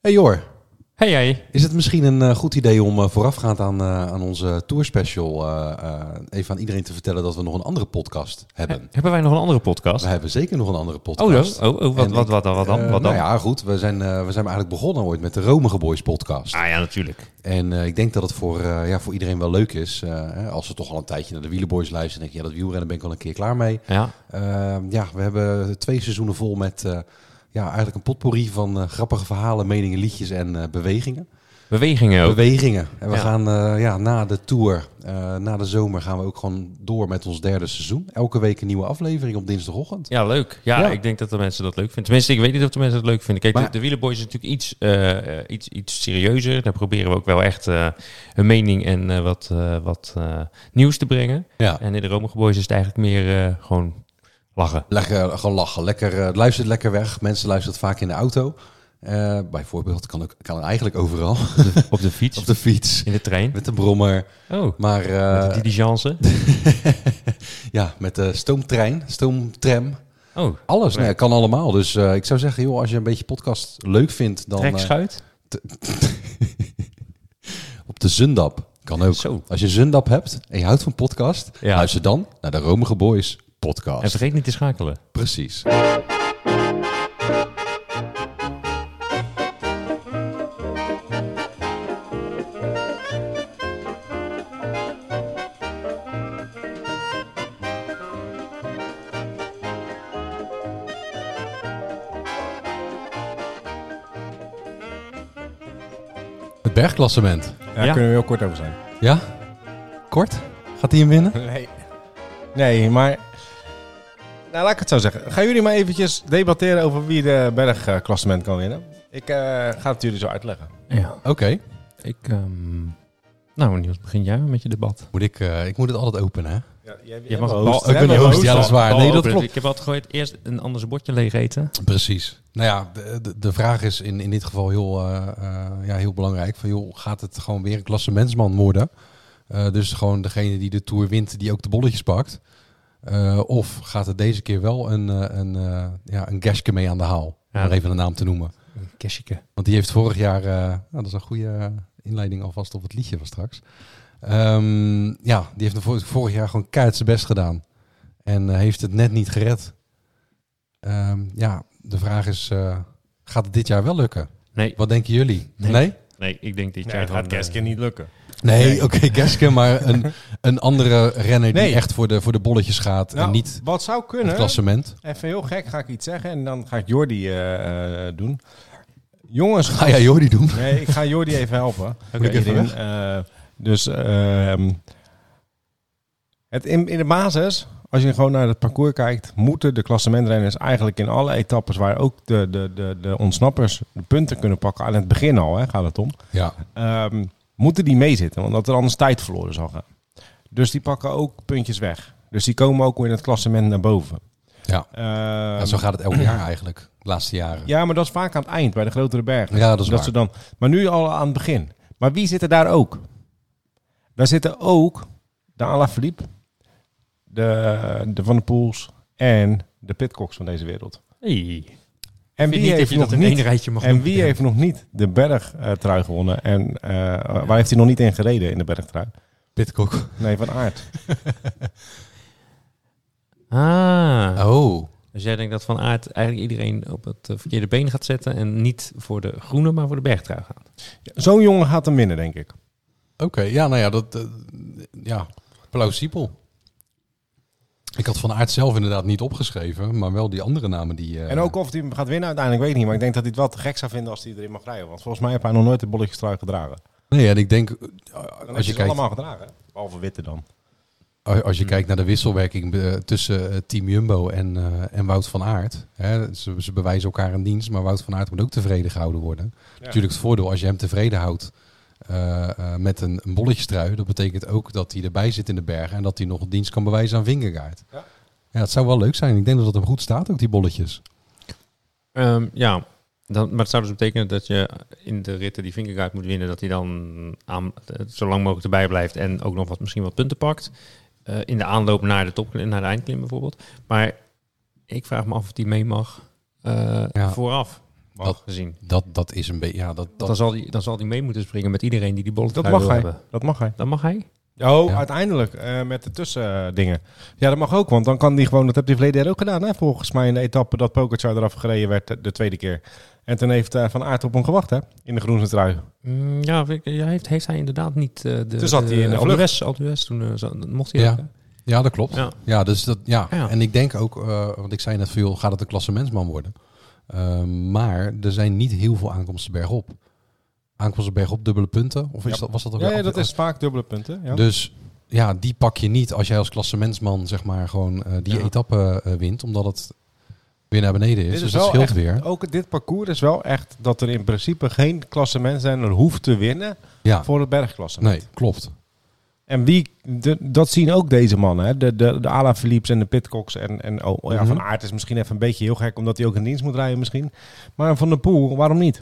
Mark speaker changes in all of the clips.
Speaker 1: Hey Jor,
Speaker 2: Hey, hey.
Speaker 1: is het misschien een eh, goed idee om eh, voorafgaand aan, eh, aan onze tourspecial eh, eh, even aan iedereen te vertellen dat we nog een andere podcast hebben?
Speaker 2: Hebben wij nog een andere podcast?
Speaker 1: We hebben zeker nog een andere
Speaker 2: Oh,
Speaker 1: podcast.
Speaker 2: zo. oh, oh wat,
Speaker 1: En
Speaker 2: wat,
Speaker 1: ik,
Speaker 2: wat dan? Wat dan?
Speaker 1: eh,
Speaker 2: Wat dan?
Speaker 1: Nou ja, goed. We zijn, eh, we zijn eigenlijk begonnen ooit met de Romige Boys podcast.
Speaker 2: Ah ja, natuurlijk.
Speaker 1: En eh, ik denk dat het voor, eh, ja, voor iedereen wel leuk is. eh, hè, als ze toch al een tijdje naar de Wielenboys luisteren, denk je, ja, dat wielrennen ben ik al een keer klaar mee.
Speaker 2: Ja.
Speaker 1: Eh, ja, we hebben twee seizoenen vol met eh, ja, eigenlijk een potpourri van eh, grappige verhalen, meningen, liedjes en eh, bewegingen.
Speaker 2: Bewegingen ook.
Speaker 1: Bewegingen. En we
Speaker 2: Ja.
Speaker 1: gaan eh, ja, na de tour, eh, na de zomer, gaan we ook gewoon door met ons derde seizoen. Elke week een nieuwe aflevering op dinsdagochtend.
Speaker 2: Ja, leuk. Ja,
Speaker 1: Ja.
Speaker 2: ik denk dat de mensen dat leuk vinden. Tenminste, ik weet niet of de mensen dat leuk vinden. Kijk,
Speaker 1: Maar-
Speaker 2: de, de Wielerboys is natuurlijk iets, eh, eh, iets, iets serieuzer. Daar proberen we ook wel echt eh, een mening en eh, wat, eh, wat eh, nieuws te brengen.
Speaker 1: Ja.
Speaker 2: En in de Romige Boys is het eigenlijk meer eh, gewoon lachen.
Speaker 1: Lekker, gewoon lachen. Lekker, eh, het luistert lekker weg. Mensen luisteren het vaak in de auto. Eh, bijvoorbeeld, kan, ook, kan eigenlijk overal.
Speaker 2: Op de fiets,
Speaker 1: Op de fiets,
Speaker 2: in de trein.
Speaker 1: met de brommer.
Speaker 2: Oh,
Speaker 1: Maar eh,
Speaker 2: met de diligence.
Speaker 1: ja, met de stoomtrein, stoomtram.
Speaker 2: Oh,
Speaker 1: Alles,
Speaker 2: Nee.
Speaker 1: nee, kan allemaal. Dus eh, ik zou zeggen, joh, als je een beetje podcast leuk vindt, dan eh,
Speaker 2: trekschuit.
Speaker 1: op de Zundap. Kan eh, ook.
Speaker 2: Zo.
Speaker 1: Als je Zundap hebt en je houdt van podcast,
Speaker 2: Ja.
Speaker 1: luister dan naar de Romige Boys podcast.
Speaker 2: En vergeet niet te schakelen.
Speaker 1: Precies. Het bergklassement.
Speaker 3: Daar
Speaker 2: Ja.
Speaker 3: kunnen we heel kort over zijn.
Speaker 1: Ja? Kort? Gaat hij hem winnen?
Speaker 3: Nee. Nee, maar... Nou, laat ik het zo zeggen. Gaan jullie maar eventjes debatteren over wie de bergklassement kan winnen? Ik eh, ga het jullie zo uitleggen.
Speaker 2: Ja.
Speaker 1: Oké.
Speaker 2: Ik, ehm, nou, Niels, begin jij maar met je debat.
Speaker 1: Moet ik, eh, ik moet het altijd openen, hè?
Speaker 3: Ja,
Speaker 2: Je mag
Speaker 3: een
Speaker 2: een bal-
Speaker 1: ik ben
Speaker 3: Oh,
Speaker 1: niet host, ja, dat is waar. Nee, dat klopt.
Speaker 2: Ik heb altijd gehoord, eerst een ander bordje leeg eten.
Speaker 1: Precies. Nou ja, de, de, de vraag is in, in dit geval heel, eh, eh, ja, heel belangrijk. Van, joh, gaat het gewoon weer een klassementsman worden? Eh, dus gewoon degene die de Tour wint, die ook de bolletjes pakt. Eh, of gaat het deze keer wel een, eh, een, eh, ja, een Gerske mee aan de haal?
Speaker 2: Ja.
Speaker 1: Om maar even een naam te noemen.
Speaker 2: Een kerstje.
Speaker 1: Want die heeft vorig jaar, eh, nou, dat is een goede inleiding alvast op het liedje van straks. Ehm, ja, die heeft vor- vorig jaar gewoon keihard zijn best gedaan. En eh, heeft het net niet gered. Ehm, ja, de vraag is, eh, gaat het dit jaar wel lukken?
Speaker 2: Nee.
Speaker 1: Wat denken jullie?
Speaker 2: Nee.
Speaker 1: Nee,
Speaker 2: Nee, ik denk dit
Speaker 3: Nee,
Speaker 2: jaar
Speaker 3: het gaat
Speaker 2: gewoon, eh,
Speaker 3: Keskin niet lukken.
Speaker 1: Nee,
Speaker 3: Nee.
Speaker 1: oké, Geske, maar een, een andere renner die
Speaker 3: Nee.
Speaker 1: echt voor de, voor de bolletjes gaat
Speaker 3: Nou,
Speaker 1: en niet
Speaker 3: wat zou
Speaker 1: het
Speaker 3: kunnen...
Speaker 1: klassement.
Speaker 3: Even heel gek ga ik iets zeggen en dan gaat Jordi eh, eh, doen. Jongens,
Speaker 1: Ga jij Jordi doen?
Speaker 3: Nee, ik ga Jordi even helpen.
Speaker 1: Moet ik even
Speaker 3: Hierin, eh, dus ehm, het in, in de basis, als je gewoon naar het parcours kijkt, moeten de klassementrenners eigenlijk in alle etappes waar ook de, de, de, de ontsnappers de punten kunnen pakken, aan het begin al hè, gaat het om,
Speaker 1: Ja,
Speaker 3: ehm, moeten die meezitten, want dat er anders tijd verloren zal gaan. Dus die pakken ook puntjes weg. Dus die komen ook in het klassement naar boven.
Speaker 1: Ja.
Speaker 3: Ehm,
Speaker 1: Ja, nou, zo gaat het elk jaar eigenlijk, de laatste jaren.
Speaker 3: ja, maar dat is vaak aan het eind bij de grotere bergen.
Speaker 1: Ja, dat is waar.
Speaker 3: ze dan, maar nu al aan het begin. Maar wie zitten daar ook? Daar zitten ook de Alaphilippe, de, de Van der Poels en de Pitcocks van deze wereld.
Speaker 2: Hey.
Speaker 3: En
Speaker 2: Vind niet
Speaker 3: wie,
Speaker 2: dat
Speaker 3: heeft
Speaker 2: je dat
Speaker 3: nog
Speaker 2: in één
Speaker 3: niet,
Speaker 2: rijtje mag
Speaker 3: en
Speaker 2: noemen.
Speaker 3: wie heeft nog niet de bergtrui gewonnen? En eh, waar heeft hij nog niet in gereden in de bergtrui?
Speaker 1: Pitcock.
Speaker 3: Nee, van Aert.
Speaker 2: Ah.
Speaker 1: Oh,
Speaker 2: Dus jij denkt dat Van Aert eigenlijk iedereen op het eh, verkeerde been gaat zetten en niet voor de groene, maar voor de bergtrui gaat.
Speaker 3: Zo'n jongen gaat hem winnen, denk ik.
Speaker 1: Oké, ja, nou ja, dat, eh, ja, plausibel. Ik had Van Aert zelf inderdaad niet opgeschreven, maar wel die andere namen die... eh,
Speaker 3: En ook of hij hem gaat winnen uiteindelijk, weet ik niet. Maar ik denk dat hij het wel te gek zou vinden als hij erin mag rijden. Want volgens mij heeft hij nog nooit de bolletjestrui gedragen.
Speaker 1: Nee, en ik denk, eh,
Speaker 3: Dan
Speaker 1: als je, kijkt,
Speaker 3: allemaal gedragen. Behalve witte dan.
Speaker 1: a- als je kijkt naar de wisselwerking eh, tussen eh, Team Jumbo en, eh, en Wout van Aert... Hè, ze, ze bewijzen elkaar een dienst, maar Wout van Aert moet ook tevreden gehouden worden. Natuurlijk het voordeel, als je hem tevreden houdt eh, eh, met een, een bolletjestrui... dat betekent ook dat hij erbij zit in de bergen... en dat hij nog dienst kan bewijzen aan Vingegaard.
Speaker 3: Ja.
Speaker 1: Ja, het zou wel leuk zijn. Ik denk dat het hem goed staat, ook die bolletjes.
Speaker 2: Ehm, ja, dan, maar het zou dus betekenen dat je in de ritten die Vingegaard moet winnen, dat hij dan aan, eh, zo lang mogelijk erbij blijft en ook nog wat, misschien wat punten pakt. Eh, in de aanloop naar de, top, naar de eindklim bijvoorbeeld. Maar ik vraag me af of die mee mag eh,
Speaker 1: Ja.
Speaker 2: vooraf. Normaal
Speaker 1: Dat-
Speaker 2: gezien.
Speaker 1: Dat, dat is een beetje... Ja, dat,
Speaker 2: Want
Speaker 1: dat,
Speaker 2: dan zal, die, dan zal die mee moeten springen met iedereen die die bollet
Speaker 3: Dat mag hij.
Speaker 2: hebben.
Speaker 3: Dat mag hij.
Speaker 2: Dan mag hij.
Speaker 3: Oh,
Speaker 1: Ja.
Speaker 3: uiteindelijk. eh, met de tussendingen. Ja, dat mag ook. Want dan kan die gewoon... Dat heb die verleden jaar ook gedaan. Hè? Volgens mij in de etappe dat Pokerchar eraf gereden werd. eh, de- De tweede keer. En toen heeft eh, Van Aert op hem gewacht. Hè? In de groene trui.
Speaker 2: Mm, ja, vind ik- ja, heeft, heeft hij inderdaad niet eh, de...
Speaker 3: Toen zat hij in de
Speaker 2: Alpe
Speaker 3: vlucht.
Speaker 2: d'Huez- Alpe d'Huez, toen eh, zat- mocht hij
Speaker 1: Ja.
Speaker 2: ook, hè?
Speaker 1: ja, dat klopt.
Speaker 2: Ja.
Speaker 1: Ja, dus dat, ja.
Speaker 2: Ja.
Speaker 1: en ik denk ook, eh, want ik zei net veel, gaat het een klassementsman worden? Ehm, maar er zijn niet heel veel aankomsten bergop. Aankomsten bergop, dubbele punten? Of is
Speaker 3: Ja.
Speaker 1: dat, was dat ook
Speaker 3: Ja,
Speaker 1: weer-
Speaker 3: ja, dat is vaak dubbele punten. Ja.
Speaker 1: Dus ja, die pak je niet als jij als klassementsman zeg maar gewoon eh, die
Speaker 2: Ja.
Speaker 1: etappe eh, wint, omdat het weer naar beneden is.
Speaker 3: Dit is
Speaker 1: dus dat
Speaker 3: wel
Speaker 1: scheelt
Speaker 3: echt-
Speaker 1: weer.
Speaker 3: Ook dit parcours is wel echt dat er in principe geen klassement zijn er hoeft te winnen
Speaker 1: Ja,
Speaker 3: voor het bergklassement.
Speaker 1: nee, klopt.
Speaker 3: En wie, de- dat zien ook deze mannen. Hè? De, de, de Ala Philips en de Pitcocks. En, en oh, ja,
Speaker 1: Mhm.
Speaker 3: Van Aert is misschien even een beetje heel gek, omdat hij ook in dienst moet rijden misschien. Maar Van der Poel, waarom niet?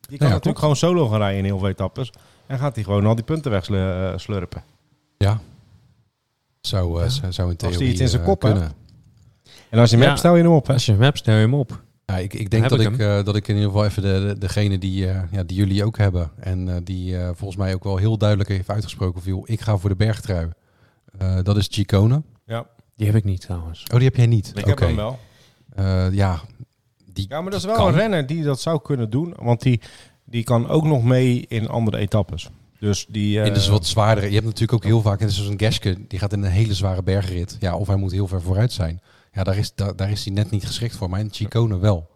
Speaker 3: Die kan natuurlijk
Speaker 1: klopt.
Speaker 3: gewoon solo gaan rijden in heel veel etappes. En gaat hij gewoon al die punten wegslurpen.
Speaker 1: Zou, eh, zou- zou in
Speaker 3: hij
Speaker 1: theorie
Speaker 3: iets in zijn
Speaker 1: eh,
Speaker 3: kop heeft.
Speaker 1: kunnen.
Speaker 3: En als je hem
Speaker 2: Ja.
Speaker 3: hebt, stel je hem op. Hè?
Speaker 2: Als je hem hebt, stel je hem op.
Speaker 1: Ja, ik, ik denk
Speaker 2: Heb
Speaker 1: dat
Speaker 2: ik
Speaker 1: ik, eh, dat ik in ieder geval even de, de- degene die, eh, ja, die jullie ook hebben. En eh, die eh, volgens mij ook wel heel duidelijk heeft uitgesproken viel. Ik ga voor de bergtrui. Eh, dat is Chicone.
Speaker 2: Die heb ik niet trouwens.
Speaker 1: Oh, die heb jij niet.
Speaker 3: Ik heb
Speaker 1: Oké.
Speaker 3: hem wel.
Speaker 1: Eh, ja, die,
Speaker 3: Ja, maar dat is
Speaker 1: die
Speaker 3: wel een
Speaker 1: kan.
Speaker 3: renner die dat zou kunnen doen. Want die, die kan ook nog mee in andere etappes. Dus die... eh,
Speaker 1: In de wat zwaardere. Je hebt natuurlijk ook heel vaak, en zo'n Geske, die gaat in een hele zware bergrit. Ja, of hij moet heel ver vooruit zijn. Ja, daar is, daar, daar is hij net niet geschikt voor. Maar in Chicone wel.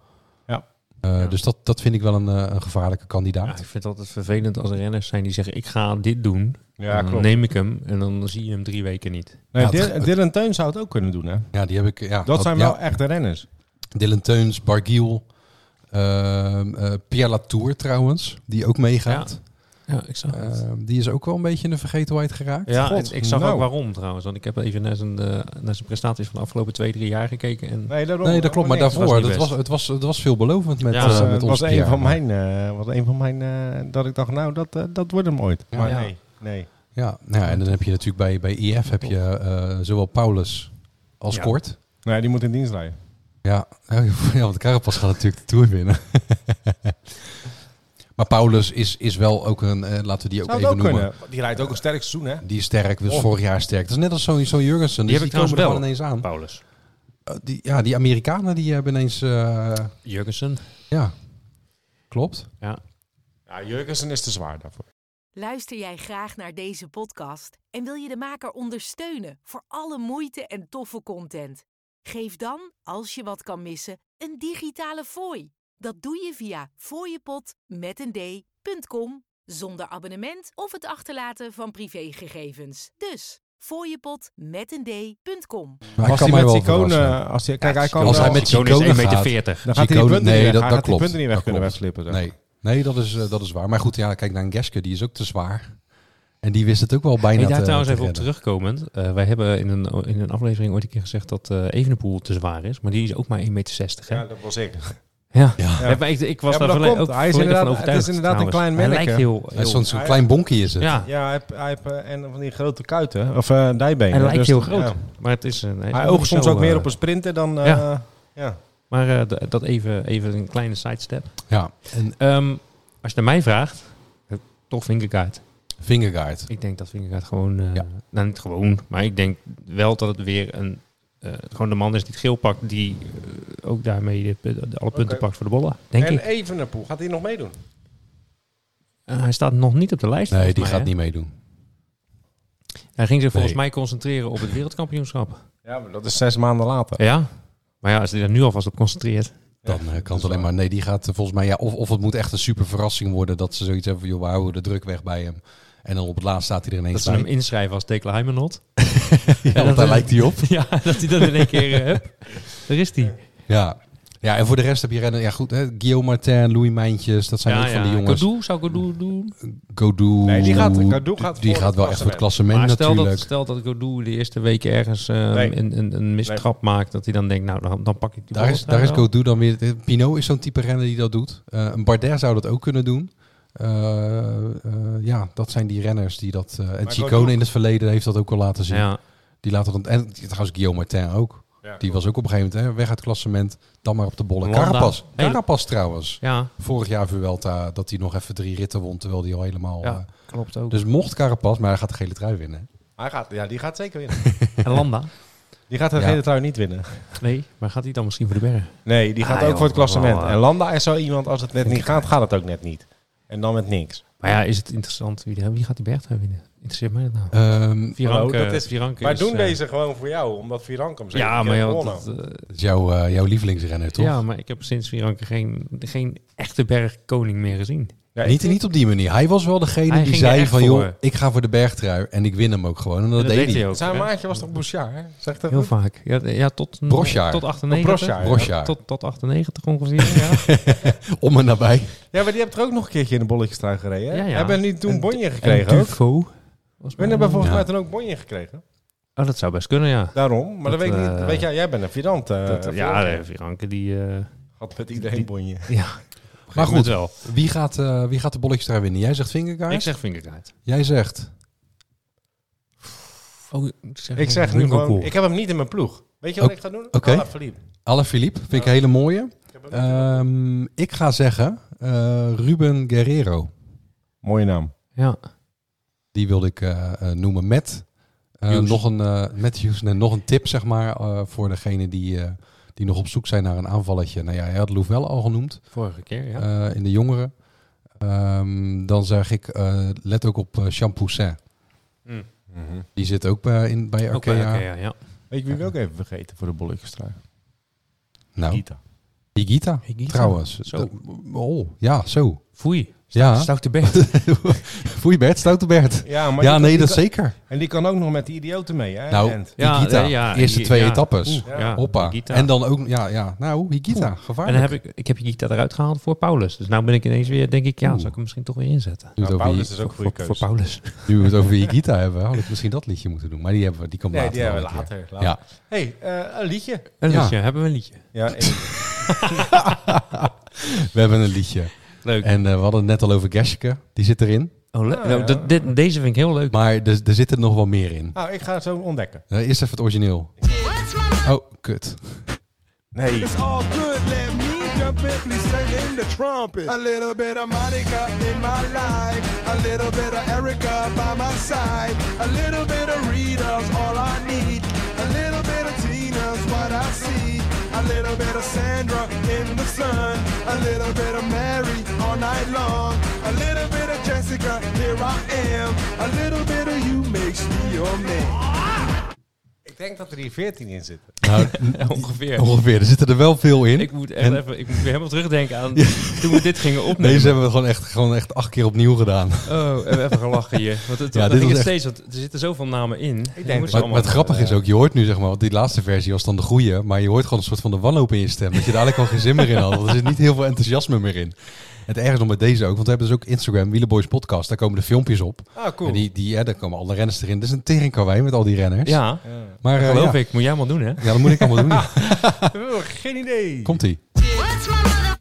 Speaker 3: Ja.
Speaker 1: Eh,
Speaker 2: Ja.
Speaker 1: Dus dat, dat vind ik wel een, eh, een gevaarlijke kandidaat.
Speaker 2: Ja, ik vind het altijd vervelend als er renners zijn die zeggen, ik ga dit doen.
Speaker 3: ja,
Speaker 2: En dan
Speaker 3: klopt.
Speaker 2: neem ik hem en dan zie je hem drie weken niet.
Speaker 3: Nee,
Speaker 1: Ja,
Speaker 3: Dylan-
Speaker 1: het- het-
Speaker 3: Dylan Teun zou het ook kunnen doen, hè?
Speaker 1: Ja, die heb ik. Ja,
Speaker 3: Dat zijn
Speaker 1: ja,
Speaker 3: wel echte renners.
Speaker 1: Dylan Teuns, Bargiel, ehm eh Pierre Latour trouwens, die ook meegaat.
Speaker 2: Ja, ik zag het.
Speaker 1: Ehm, die is ook wel een beetje in de vergetenheid geraakt.
Speaker 2: Ja,
Speaker 3: God,
Speaker 2: en ik zag
Speaker 3: nou.
Speaker 2: ook waarom trouwens. Want ik heb even naar zijn, eh, naar zijn prestaties van de afgelopen twee, drie jaar gekeken. En
Speaker 3: Nee, daarom-
Speaker 1: Nee, dat klopt. Maar
Speaker 3: niks.
Speaker 1: daarvoor,
Speaker 2: was niet
Speaker 1: dat
Speaker 2: best.
Speaker 1: was, het, was, het was veelbelovend met,
Speaker 2: Ja,
Speaker 1: eh,
Speaker 3: Dat was, eh,
Speaker 1: met ons
Speaker 3: was een
Speaker 1: Pierre.
Speaker 3: van mijn, eh, was een van mijn eh, dat ik dacht, nou, dat, eh, dat wordt hem ooit.
Speaker 1: Ja.
Speaker 3: maar
Speaker 2: Ja.
Speaker 3: nee, nee.
Speaker 1: Ja, nou, ja, en dan heb je natuurlijk bij, bij IF heb je eh, zowel Paulus als
Speaker 2: Ja.
Speaker 1: Kort.
Speaker 3: Nee, die moet in dienst rijden.
Speaker 1: Ja, ja, want Carapas gaat natuurlijk de Tour winnen. maar Paulus is, is wel ook een, eh, laten we die ook
Speaker 3: Zou
Speaker 1: even
Speaker 3: het ook
Speaker 1: noemen.
Speaker 3: kunnen. Die rijdt ook een sterk seizoen, hè?
Speaker 1: Die is sterk, was
Speaker 3: Oh.
Speaker 1: vorig jaar sterk. Dat is net als zo'n zo'n Jurgensen.
Speaker 2: Die
Speaker 1: Dus
Speaker 2: heb ik
Speaker 1: die komen
Speaker 2: trouwens
Speaker 1: er gewoon
Speaker 2: wel.
Speaker 1: ineens aan.
Speaker 2: Paulus.
Speaker 1: Uh, die, ja, die Amerikanen die hebben ineens... eh,
Speaker 2: Jurgensen.
Speaker 1: ja, klopt.
Speaker 3: Ja, Jurgensen is te zwaar daarvoor.
Speaker 4: Luister jij graag naar deze podcast en wil je de maker ondersteunen voor alle moeite en toffe content? Geef dan, als je wat kan missen, een digitale fooi. Dat doe je via fooiepot.com zonder abonnement of het achterlaten van privégegevens. Dus fooiepot.com.
Speaker 1: Maar
Speaker 3: als
Speaker 1: hij kan
Speaker 3: hij
Speaker 1: mij
Speaker 3: met
Speaker 1: wel
Speaker 3: Icone,
Speaker 1: verrassen.
Speaker 3: als hij, kijk, hij kan
Speaker 1: Als
Speaker 3: wel-
Speaker 1: hij met
Speaker 2: Ciccone is
Speaker 1: Ciccone
Speaker 2: 1,40 meter.
Speaker 1: gaat.
Speaker 3: dan gaat hij die
Speaker 1: Ciccone-
Speaker 3: punten
Speaker 1: nee,
Speaker 3: niet weg,
Speaker 1: dat- dat
Speaker 3: hij gaat die
Speaker 1: klopt.
Speaker 3: punten niet weg
Speaker 1: Dat
Speaker 3: kunnen
Speaker 1: klopt.
Speaker 3: wegslippen. zeg.
Speaker 1: Nee, nee dat, is, eh, dat is waar. Maar goed, ja, kijk naar een Geske, die is ook te zwaar. En die wist het ook wel bijna
Speaker 2: Hey, daar
Speaker 1: te,
Speaker 2: trouwens
Speaker 1: te
Speaker 2: even op
Speaker 1: redden.
Speaker 2: terugkomend. Eh, wij hebben in een, in een aflevering ooit een keer gezegd dat eh Evenepoel te zwaar is. Maar die is ook maar 1,60 meter. Hè?
Speaker 3: Ja,
Speaker 2: Ja.
Speaker 3: dat was ik.
Speaker 1: Ja,
Speaker 2: Ja, maar ik, ik was
Speaker 3: Ja, maar
Speaker 2: daar
Speaker 3: dat
Speaker 2: volle-
Speaker 3: komt.
Speaker 2: ook
Speaker 3: Hij is
Speaker 2: volledig van
Speaker 3: inderdaad-
Speaker 2: overtuigd.
Speaker 3: het is inderdaad een
Speaker 2: trouwens.
Speaker 3: klein
Speaker 2: Hij
Speaker 3: manneke.
Speaker 2: lijkt heel...
Speaker 1: hij is
Speaker 2: heel-
Speaker 1: zo'n zo'n klein bonkie is het.
Speaker 2: ja,
Speaker 3: Ja, hij heeft, hij heeft eh, en van die grote kuiten, of eh dijbenen.
Speaker 2: hij lijkt
Speaker 3: Dus-
Speaker 2: heel groot.
Speaker 3: ja.
Speaker 2: Maar het is... een-
Speaker 3: Hij oogt soms
Speaker 2: zo,
Speaker 3: ook meer
Speaker 2: eh,
Speaker 3: op een sprinter dan... eh,
Speaker 2: ja.
Speaker 3: ja.
Speaker 2: Maar eh, d- dat even, even een kleine sidestep.
Speaker 1: ja. en
Speaker 2: Ehm, als je naar mij vraagt, eh, toch Vinkerkaart.
Speaker 1: Vingergaard.
Speaker 2: Ik denk dat Vinkerkaart gewoon, eh,
Speaker 1: Ja.
Speaker 2: nou niet gewoon, maar ik denk wel dat het weer een, eh, gewoon de man is die het geel pakt, die eh, ook daarmee de, pu- de- alle punten
Speaker 3: Oké.
Speaker 2: pakt voor de bollen. Denk
Speaker 3: en
Speaker 2: ik.
Speaker 3: Evenepoel, gaat hij nog meedoen?
Speaker 2: Eh, hij staat nog niet op de lijst.
Speaker 1: Nee,
Speaker 2: volgens
Speaker 1: die
Speaker 2: mij,
Speaker 1: gaat
Speaker 2: hè?
Speaker 1: niet meedoen.
Speaker 2: Hij ging zich volgens
Speaker 1: Nee.
Speaker 2: mij concentreren op het wereldkampioenschap.
Speaker 3: Ja, maar dat is zes maanden later.
Speaker 2: Ja. Maar ja, als hij er nu alvast op concentreert.
Speaker 1: Dan eh, kan
Speaker 3: Dus
Speaker 1: het alleen maar. Nee, die gaat eh, volgens mij. Ja, of, of het moet echt een super verrassing worden dat ze zoiets hebben van joh, we houden de druk weg bij hem. En dan op het laatst staat hij er
Speaker 2: Dat
Speaker 1: ineens
Speaker 2: ze hem
Speaker 1: bij.
Speaker 2: inschrijven als Tekla Heimenot.
Speaker 1: Ja, want daar lijkt hij op.
Speaker 2: ja, dat hij dan in één keer... eh, hup, daar is hij.
Speaker 1: Ja. ja, en voor de rest heb je rennen. Ja, goed, hè, Guillaume Martin, Louis Mijntjes, dat zijn ook van die jongens.
Speaker 2: Godou, zou Godou doen?
Speaker 1: Godou.
Speaker 3: Nee, die gaat- Godou
Speaker 1: die-
Speaker 3: gaat
Speaker 1: die
Speaker 3: voor
Speaker 1: gaat
Speaker 3: het
Speaker 1: wel echt voor het
Speaker 2: Maar
Speaker 1: klassement
Speaker 2: stel
Speaker 1: natuurlijk.
Speaker 2: dat, stel dat Godou de eerste week ergens ehm,
Speaker 3: Nee.
Speaker 2: een, een, een mistrap maakt, dat hij dan denkt, nou, dan, dan pak ik
Speaker 1: daar
Speaker 2: die
Speaker 1: is,
Speaker 2: bollenstrein
Speaker 1: daar is
Speaker 2: wel.
Speaker 1: Godou dan weer. Pinot is zo'n type renner die dat doet. Eh, een Bardet zou dat ook kunnen doen. Eh, eh, ja, dat zijn die renners die dat. eh en
Speaker 3: Maar
Speaker 1: Chicone
Speaker 3: Godou-
Speaker 1: in het verleden heeft dat ook al laten zien.
Speaker 2: Ja,
Speaker 1: Die laten dan. En trouwens, Guillaume Martin ook. Die was ook op een gegeven moment hè, weg uit het klassement. Dan maar op de bollen.
Speaker 2: Landa.
Speaker 1: Carapas.
Speaker 2: Hey.
Speaker 1: Carapas trouwens.
Speaker 2: Ja,
Speaker 1: Vorig jaar Vuelta dat hij nog even drie ritten won. Terwijl hij al helemaal...
Speaker 2: Ja.
Speaker 1: eh,
Speaker 2: klopt ook.
Speaker 1: dus mocht Carapas, maar hij gaat de gele trui winnen.
Speaker 3: Hij gaat, ja, die gaat zeker winnen.
Speaker 2: en Landa?
Speaker 3: Die gaat het
Speaker 1: Ja.
Speaker 3: hele trui niet winnen.
Speaker 2: Nee, maar gaat hij dan misschien voor de bergen?
Speaker 3: Nee, die gaat
Speaker 2: Ah,
Speaker 3: ook
Speaker 2: joh,
Speaker 3: voor het klassement.
Speaker 2: wel, eh.
Speaker 3: en Landa is zo iemand, als het net niet gaat, gaat het ook net niet. En dan met niks.
Speaker 2: Maar ja, is het interessant? Wie, wie gaat die bergtrui winnen? Interesseert mij dat nou?
Speaker 1: Ehm,
Speaker 2: Vieranke,
Speaker 3: Hallo, dat is-
Speaker 2: Vieranke
Speaker 3: Wij
Speaker 2: is,
Speaker 3: doen
Speaker 2: eh,
Speaker 3: deze gewoon voor jou, omdat Vierank hem zeker
Speaker 2: Ja,
Speaker 3: keer
Speaker 2: maar ja,
Speaker 3: gewonnen.
Speaker 2: dat, eh,
Speaker 1: dat is jouw, eh, jouw lievelingsrenner, toch?
Speaker 2: ja, maar ik heb sinds Vieranke geen, geen echte bergkoning meer gezien.
Speaker 3: Ja,
Speaker 1: Niet,
Speaker 3: ik-
Speaker 1: niet op die manier. Hij was wel degene
Speaker 2: Hij
Speaker 1: die
Speaker 2: ging er
Speaker 1: zei
Speaker 2: echt
Speaker 1: van, joh,
Speaker 2: voor.
Speaker 1: ik ga voor de bergtrui en ik win hem ook gewoon. En dat, deed hij.
Speaker 2: ook.
Speaker 3: Zijn
Speaker 2: hè?
Speaker 3: maatje was toch Bouchard, hè? Zegt dat
Speaker 2: Heel
Speaker 3: goed?
Speaker 2: vaak. Ja, ja tot,
Speaker 1: Brosjaar.
Speaker 2: tot 98.
Speaker 3: Oh, Brosjaar, ja.
Speaker 1: Brosjaar.
Speaker 2: Tot, tot 98 ongeveer, ja.
Speaker 1: Om en nabij.
Speaker 3: Ja, maar die hebt er ook nog een keertje in de bolletjestrui gereden. hè?
Speaker 2: Ja, ja.
Speaker 3: Hebben nu toen
Speaker 2: En-
Speaker 3: bonje
Speaker 2: En
Speaker 3: gekregen ook?
Speaker 2: Dufo. was
Speaker 3: We
Speaker 2: mijn-
Speaker 3: hebben volgens
Speaker 1: Ja.
Speaker 3: mij toen ook bonje gekregen.
Speaker 2: Oh, dat zou best kunnen, ja.
Speaker 3: Daarom, maar dat,
Speaker 2: Dat,
Speaker 3: weet ik niet.
Speaker 2: eh,
Speaker 3: Weet jij, jij bent een Vierant. eh,
Speaker 2: Dat, ja,
Speaker 3: Vierant.
Speaker 2: eh, Vieranke die... eh,
Speaker 3: had met iedereen
Speaker 2: die-
Speaker 3: bonje.
Speaker 1: Maar
Speaker 2: geeft het
Speaker 1: goed,
Speaker 2: wel.
Speaker 1: wie gaat, eh, wie gaat de bolletjestrui winnen? Jij zegt vingerkaart?
Speaker 2: Ik zeg vingerkaart.
Speaker 1: Jij zegt...
Speaker 2: Oh, ik zeg,
Speaker 3: Ik zeg nu
Speaker 2: Winkelkoel.
Speaker 3: gewoon, ik heb hem niet in mijn ploeg. Weet je wat
Speaker 1: Oké.
Speaker 3: ik ga doen?
Speaker 1: Oké.
Speaker 3: Alaphilippe.
Speaker 1: Alaphilippe, vind ik een hele mooie.
Speaker 3: Ik heb hem niet in mijn ploeg.
Speaker 1: Ehm, ik ga zeggen eh, Ruben Guerrero.
Speaker 3: Mooie naam.
Speaker 2: Ja,
Speaker 1: Die wilde ik eh, eh, noemen met, eh,
Speaker 2: Hughes.
Speaker 1: nog een, eh, met Hughes. En nog een tip, zeg maar, eh, voor degene die, eh, die nog op zoek zijn naar een aanvalletje. Nou ja, hij had Louvel al genoemd.
Speaker 2: vorige keer, ja.
Speaker 1: eh, in de jongeren. Ehm, dan zeg ik, eh, let ook op eh, Jean Poussin.
Speaker 2: Mm.
Speaker 3: Mhm.
Speaker 1: Die zit ook bij, in, bij
Speaker 2: Oké,
Speaker 1: Arkea.
Speaker 2: oké, ja, ja.
Speaker 3: Weet je wie we ook even vergeten voor de bolletjestrui?
Speaker 1: Nou,
Speaker 3: Ita.
Speaker 1: Higita,
Speaker 2: Higita.
Speaker 1: trouwens.
Speaker 2: Zo.
Speaker 1: Dat- oh, ja, zo.
Speaker 2: Foei.
Speaker 1: Ja.
Speaker 2: Stoute berg.
Speaker 1: Foei Bert, stoute Bert.
Speaker 3: Ja, maar
Speaker 1: ja,
Speaker 3: die-
Speaker 1: nee,
Speaker 3: die
Speaker 1: dat
Speaker 3: kan-
Speaker 1: zeker.
Speaker 3: En die kan ook nog met die idioten mee, hè?
Speaker 1: Nou,
Speaker 3: Gent.
Speaker 2: Ja,
Speaker 1: Higita,
Speaker 2: nee, ja,
Speaker 1: eerste
Speaker 2: ja.
Speaker 1: twee
Speaker 2: Ja.
Speaker 1: etappes.
Speaker 3: Oeh,
Speaker 2: ja.
Speaker 1: Hoppa.
Speaker 2: Higita.
Speaker 1: En dan ook, ja, ja. nou, Higita,
Speaker 2: En
Speaker 1: gevaarlijk.
Speaker 2: dan heb ik, ik heb Higita eruit gehaald voor Paulus. Dus nou ben ik ineens weer, denk ik, ja,
Speaker 1: Oeh.
Speaker 2: zou ik hem misschien toch weer inzetten.
Speaker 1: Nu we
Speaker 3: Nou,
Speaker 1: het over
Speaker 3: Paulus
Speaker 1: Hi-
Speaker 3: is ook een
Speaker 2: voor,
Speaker 3: goede keuze.
Speaker 2: voor Paulus.
Speaker 1: nu we het over Higita hebben, had ik misschien dat liedje moeten doen. Maar die, hebben, we- die kan
Speaker 3: Nee,
Speaker 1: later.
Speaker 3: die hebben we
Speaker 1: wel een keer.
Speaker 3: later.
Speaker 1: Ja.
Speaker 3: later. hey, eh, een liedje.
Speaker 2: Een
Speaker 1: Ja.
Speaker 2: liedje, hebben we een liedje.
Speaker 3: Ja, ik-
Speaker 1: We hebben een liedje.
Speaker 2: Leuk.
Speaker 1: En eh, we hadden het net al over Gershke. Die zit erin.
Speaker 2: oh, le-
Speaker 3: Ja,
Speaker 2: nou,
Speaker 3: ja.
Speaker 2: dat- dit- deze vind ik heel leuk.
Speaker 1: Maar er, er zit er nog wel meer in.
Speaker 3: nou, ik ga het zo ontdekken.
Speaker 1: Eh, eerst even het origineel. Oh, kut.
Speaker 3: Nee.
Speaker 5: It's all good, let me jump in, please turn in the trumpet. A little bit of Monica in my life, a little bit of Erica by my side, a little bit of Rita's all I need, a little bit of Tina's what I see, a little bit of Sandra in the sun, a little bit of Mary all night long, a little bit of Jessica, here I am, a little bit of you makes me your man.
Speaker 3: Ik denk dat er hier 14 in zitten.
Speaker 1: Nou,
Speaker 2: Ongeveer.
Speaker 1: ongeveer. Er zitten er wel veel in.
Speaker 2: Ik moet echt even, ik moet weer helemaal terugdenken aan toen we dit gingen opnemen.
Speaker 1: Deze hebben we gewoon echt, gewoon echt acht keer opnieuw gedaan.
Speaker 2: Oh, we hebben even gelachen hier. Want het,
Speaker 1: Ja,
Speaker 2: dat
Speaker 1: dit
Speaker 2: ding
Speaker 1: was
Speaker 2: is
Speaker 1: echt-
Speaker 2: steeds, want er zitten zoveel namen in. Ik
Speaker 3: denk dat-
Speaker 1: Maar, maar het grappige
Speaker 2: eh,
Speaker 1: is ook, je hoort nu zeg maar, want die laatste versie was dan de goede, maar je hoort gewoon een soort van de wanhoop in je stem. Dat je daar eigenlijk al geen zin meer in had, want er zit niet heel veel enthousiasme meer in. Het ergste nog met deze ook, want we hebben dus ook Instagram, Wielenboys Podcast, daar komen de filmpjes op.
Speaker 3: Ah,
Speaker 1: En die, die, ja, daar komen alle renners erin. Dit is een teringkarwei met al die renners.
Speaker 2: Ja,
Speaker 1: maar, eh,
Speaker 2: geloof
Speaker 1: ja.
Speaker 2: ik. Moet jij allemaal doen, hè?
Speaker 1: Ja, dat moet ik allemaal doen. ja.
Speaker 3: geen idee.
Speaker 1: Komt-ie.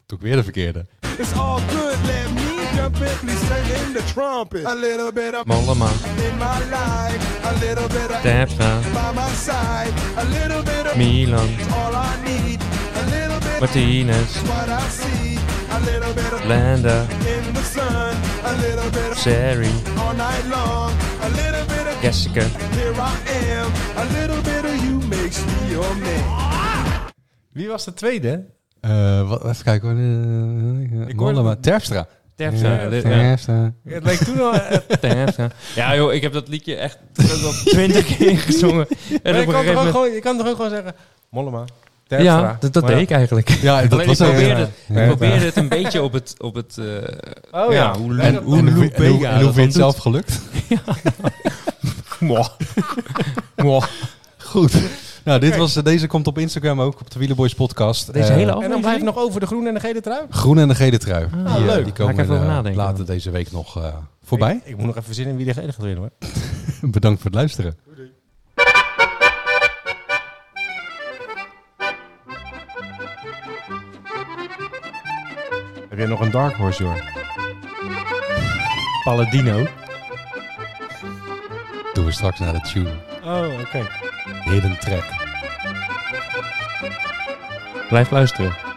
Speaker 1: Doe ik weer de verkeerde.
Speaker 5: It's all good, let me jump in, please turn in the trumpet. A little bit of
Speaker 2: Mollema,
Speaker 5: in my life, a little bit of
Speaker 2: Terpstra,
Speaker 5: by my side, a little bit of
Speaker 2: Milan,
Speaker 5: all I need, a little bit
Speaker 2: Martinez,
Speaker 5: of what I see, a little bit of
Speaker 2: Landa,
Speaker 5: in the sun, a little bit of
Speaker 2: Seri,
Speaker 5: all night long, a little bit of
Speaker 2: Jessica.
Speaker 5: here I am, a little bit of you makes me your man.
Speaker 3: Wie was de tweede?
Speaker 1: Eh, wat, even kijken hoor. Eh,
Speaker 3: Ik hoor
Speaker 1: Mollema.
Speaker 3: het-
Speaker 1: Terpstra.
Speaker 2: Terpstra. dit- ja.
Speaker 1: Terpstra.
Speaker 3: Het leek toen al... eh,
Speaker 2: Terpstra. Ja, joh, ik heb dat liedje echt twintig keer gezongen. En
Speaker 3: maar
Speaker 2: op
Speaker 3: je,
Speaker 2: een gegeven
Speaker 3: kan toch ook
Speaker 2: moment...
Speaker 3: gewoon, je kan toch ook gewoon zeggen... Mollema, Terpstra.
Speaker 2: Ja, dat, dat
Speaker 3: Maar
Speaker 2: deed ik eigenlijk.
Speaker 1: Ja, dat
Speaker 2: Alleen ik
Speaker 1: was ook...
Speaker 2: probeerde,
Speaker 1: eh,
Speaker 2: het, ik probeerde het een beetje op het... Op het eh,
Speaker 3: Oh ja.
Speaker 2: hoe
Speaker 3: En
Speaker 2: Lu-
Speaker 1: En hoe, en hoe, en hoe
Speaker 2: Lubega dat
Speaker 1: vind je
Speaker 2: dan
Speaker 1: het
Speaker 2: doet.
Speaker 1: zelf gelukt?
Speaker 2: Mwah. Mwah.
Speaker 1: Goed. Nou, dit was, eh, deze komt op Instagram ook, op de Wielerboys podcast.
Speaker 2: Deze
Speaker 1: Eh,
Speaker 2: hele
Speaker 3: En dan
Speaker 2: aflevering?
Speaker 3: blijft nog over de groene en de gele trui.
Speaker 1: Groen en de gele trui.
Speaker 2: Ah,
Speaker 1: die, eh,
Speaker 3: leuk.
Speaker 1: Die
Speaker 2: Ga ik
Speaker 1: komen
Speaker 2: even over
Speaker 1: eh,
Speaker 2: nadenken
Speaker 1: later
Speaker 2: dan.
Speaker 1: deze week nog eh, voorbij.
Speaker 3: Ik, ik moet nog even zinnen in wie de gele gaat winnen hoor.
Speaker 1: Bedankt voor het luisteren.
Speaker 3: Heb jij nog een dark horse joh?
Speaker 2: Palladino.
Speaker 1: Doen we straks naar de tune.
Speaker 3: Oh, oké.
Speaker 1: Hidden track.
Speaker 2: Blijf luisteren.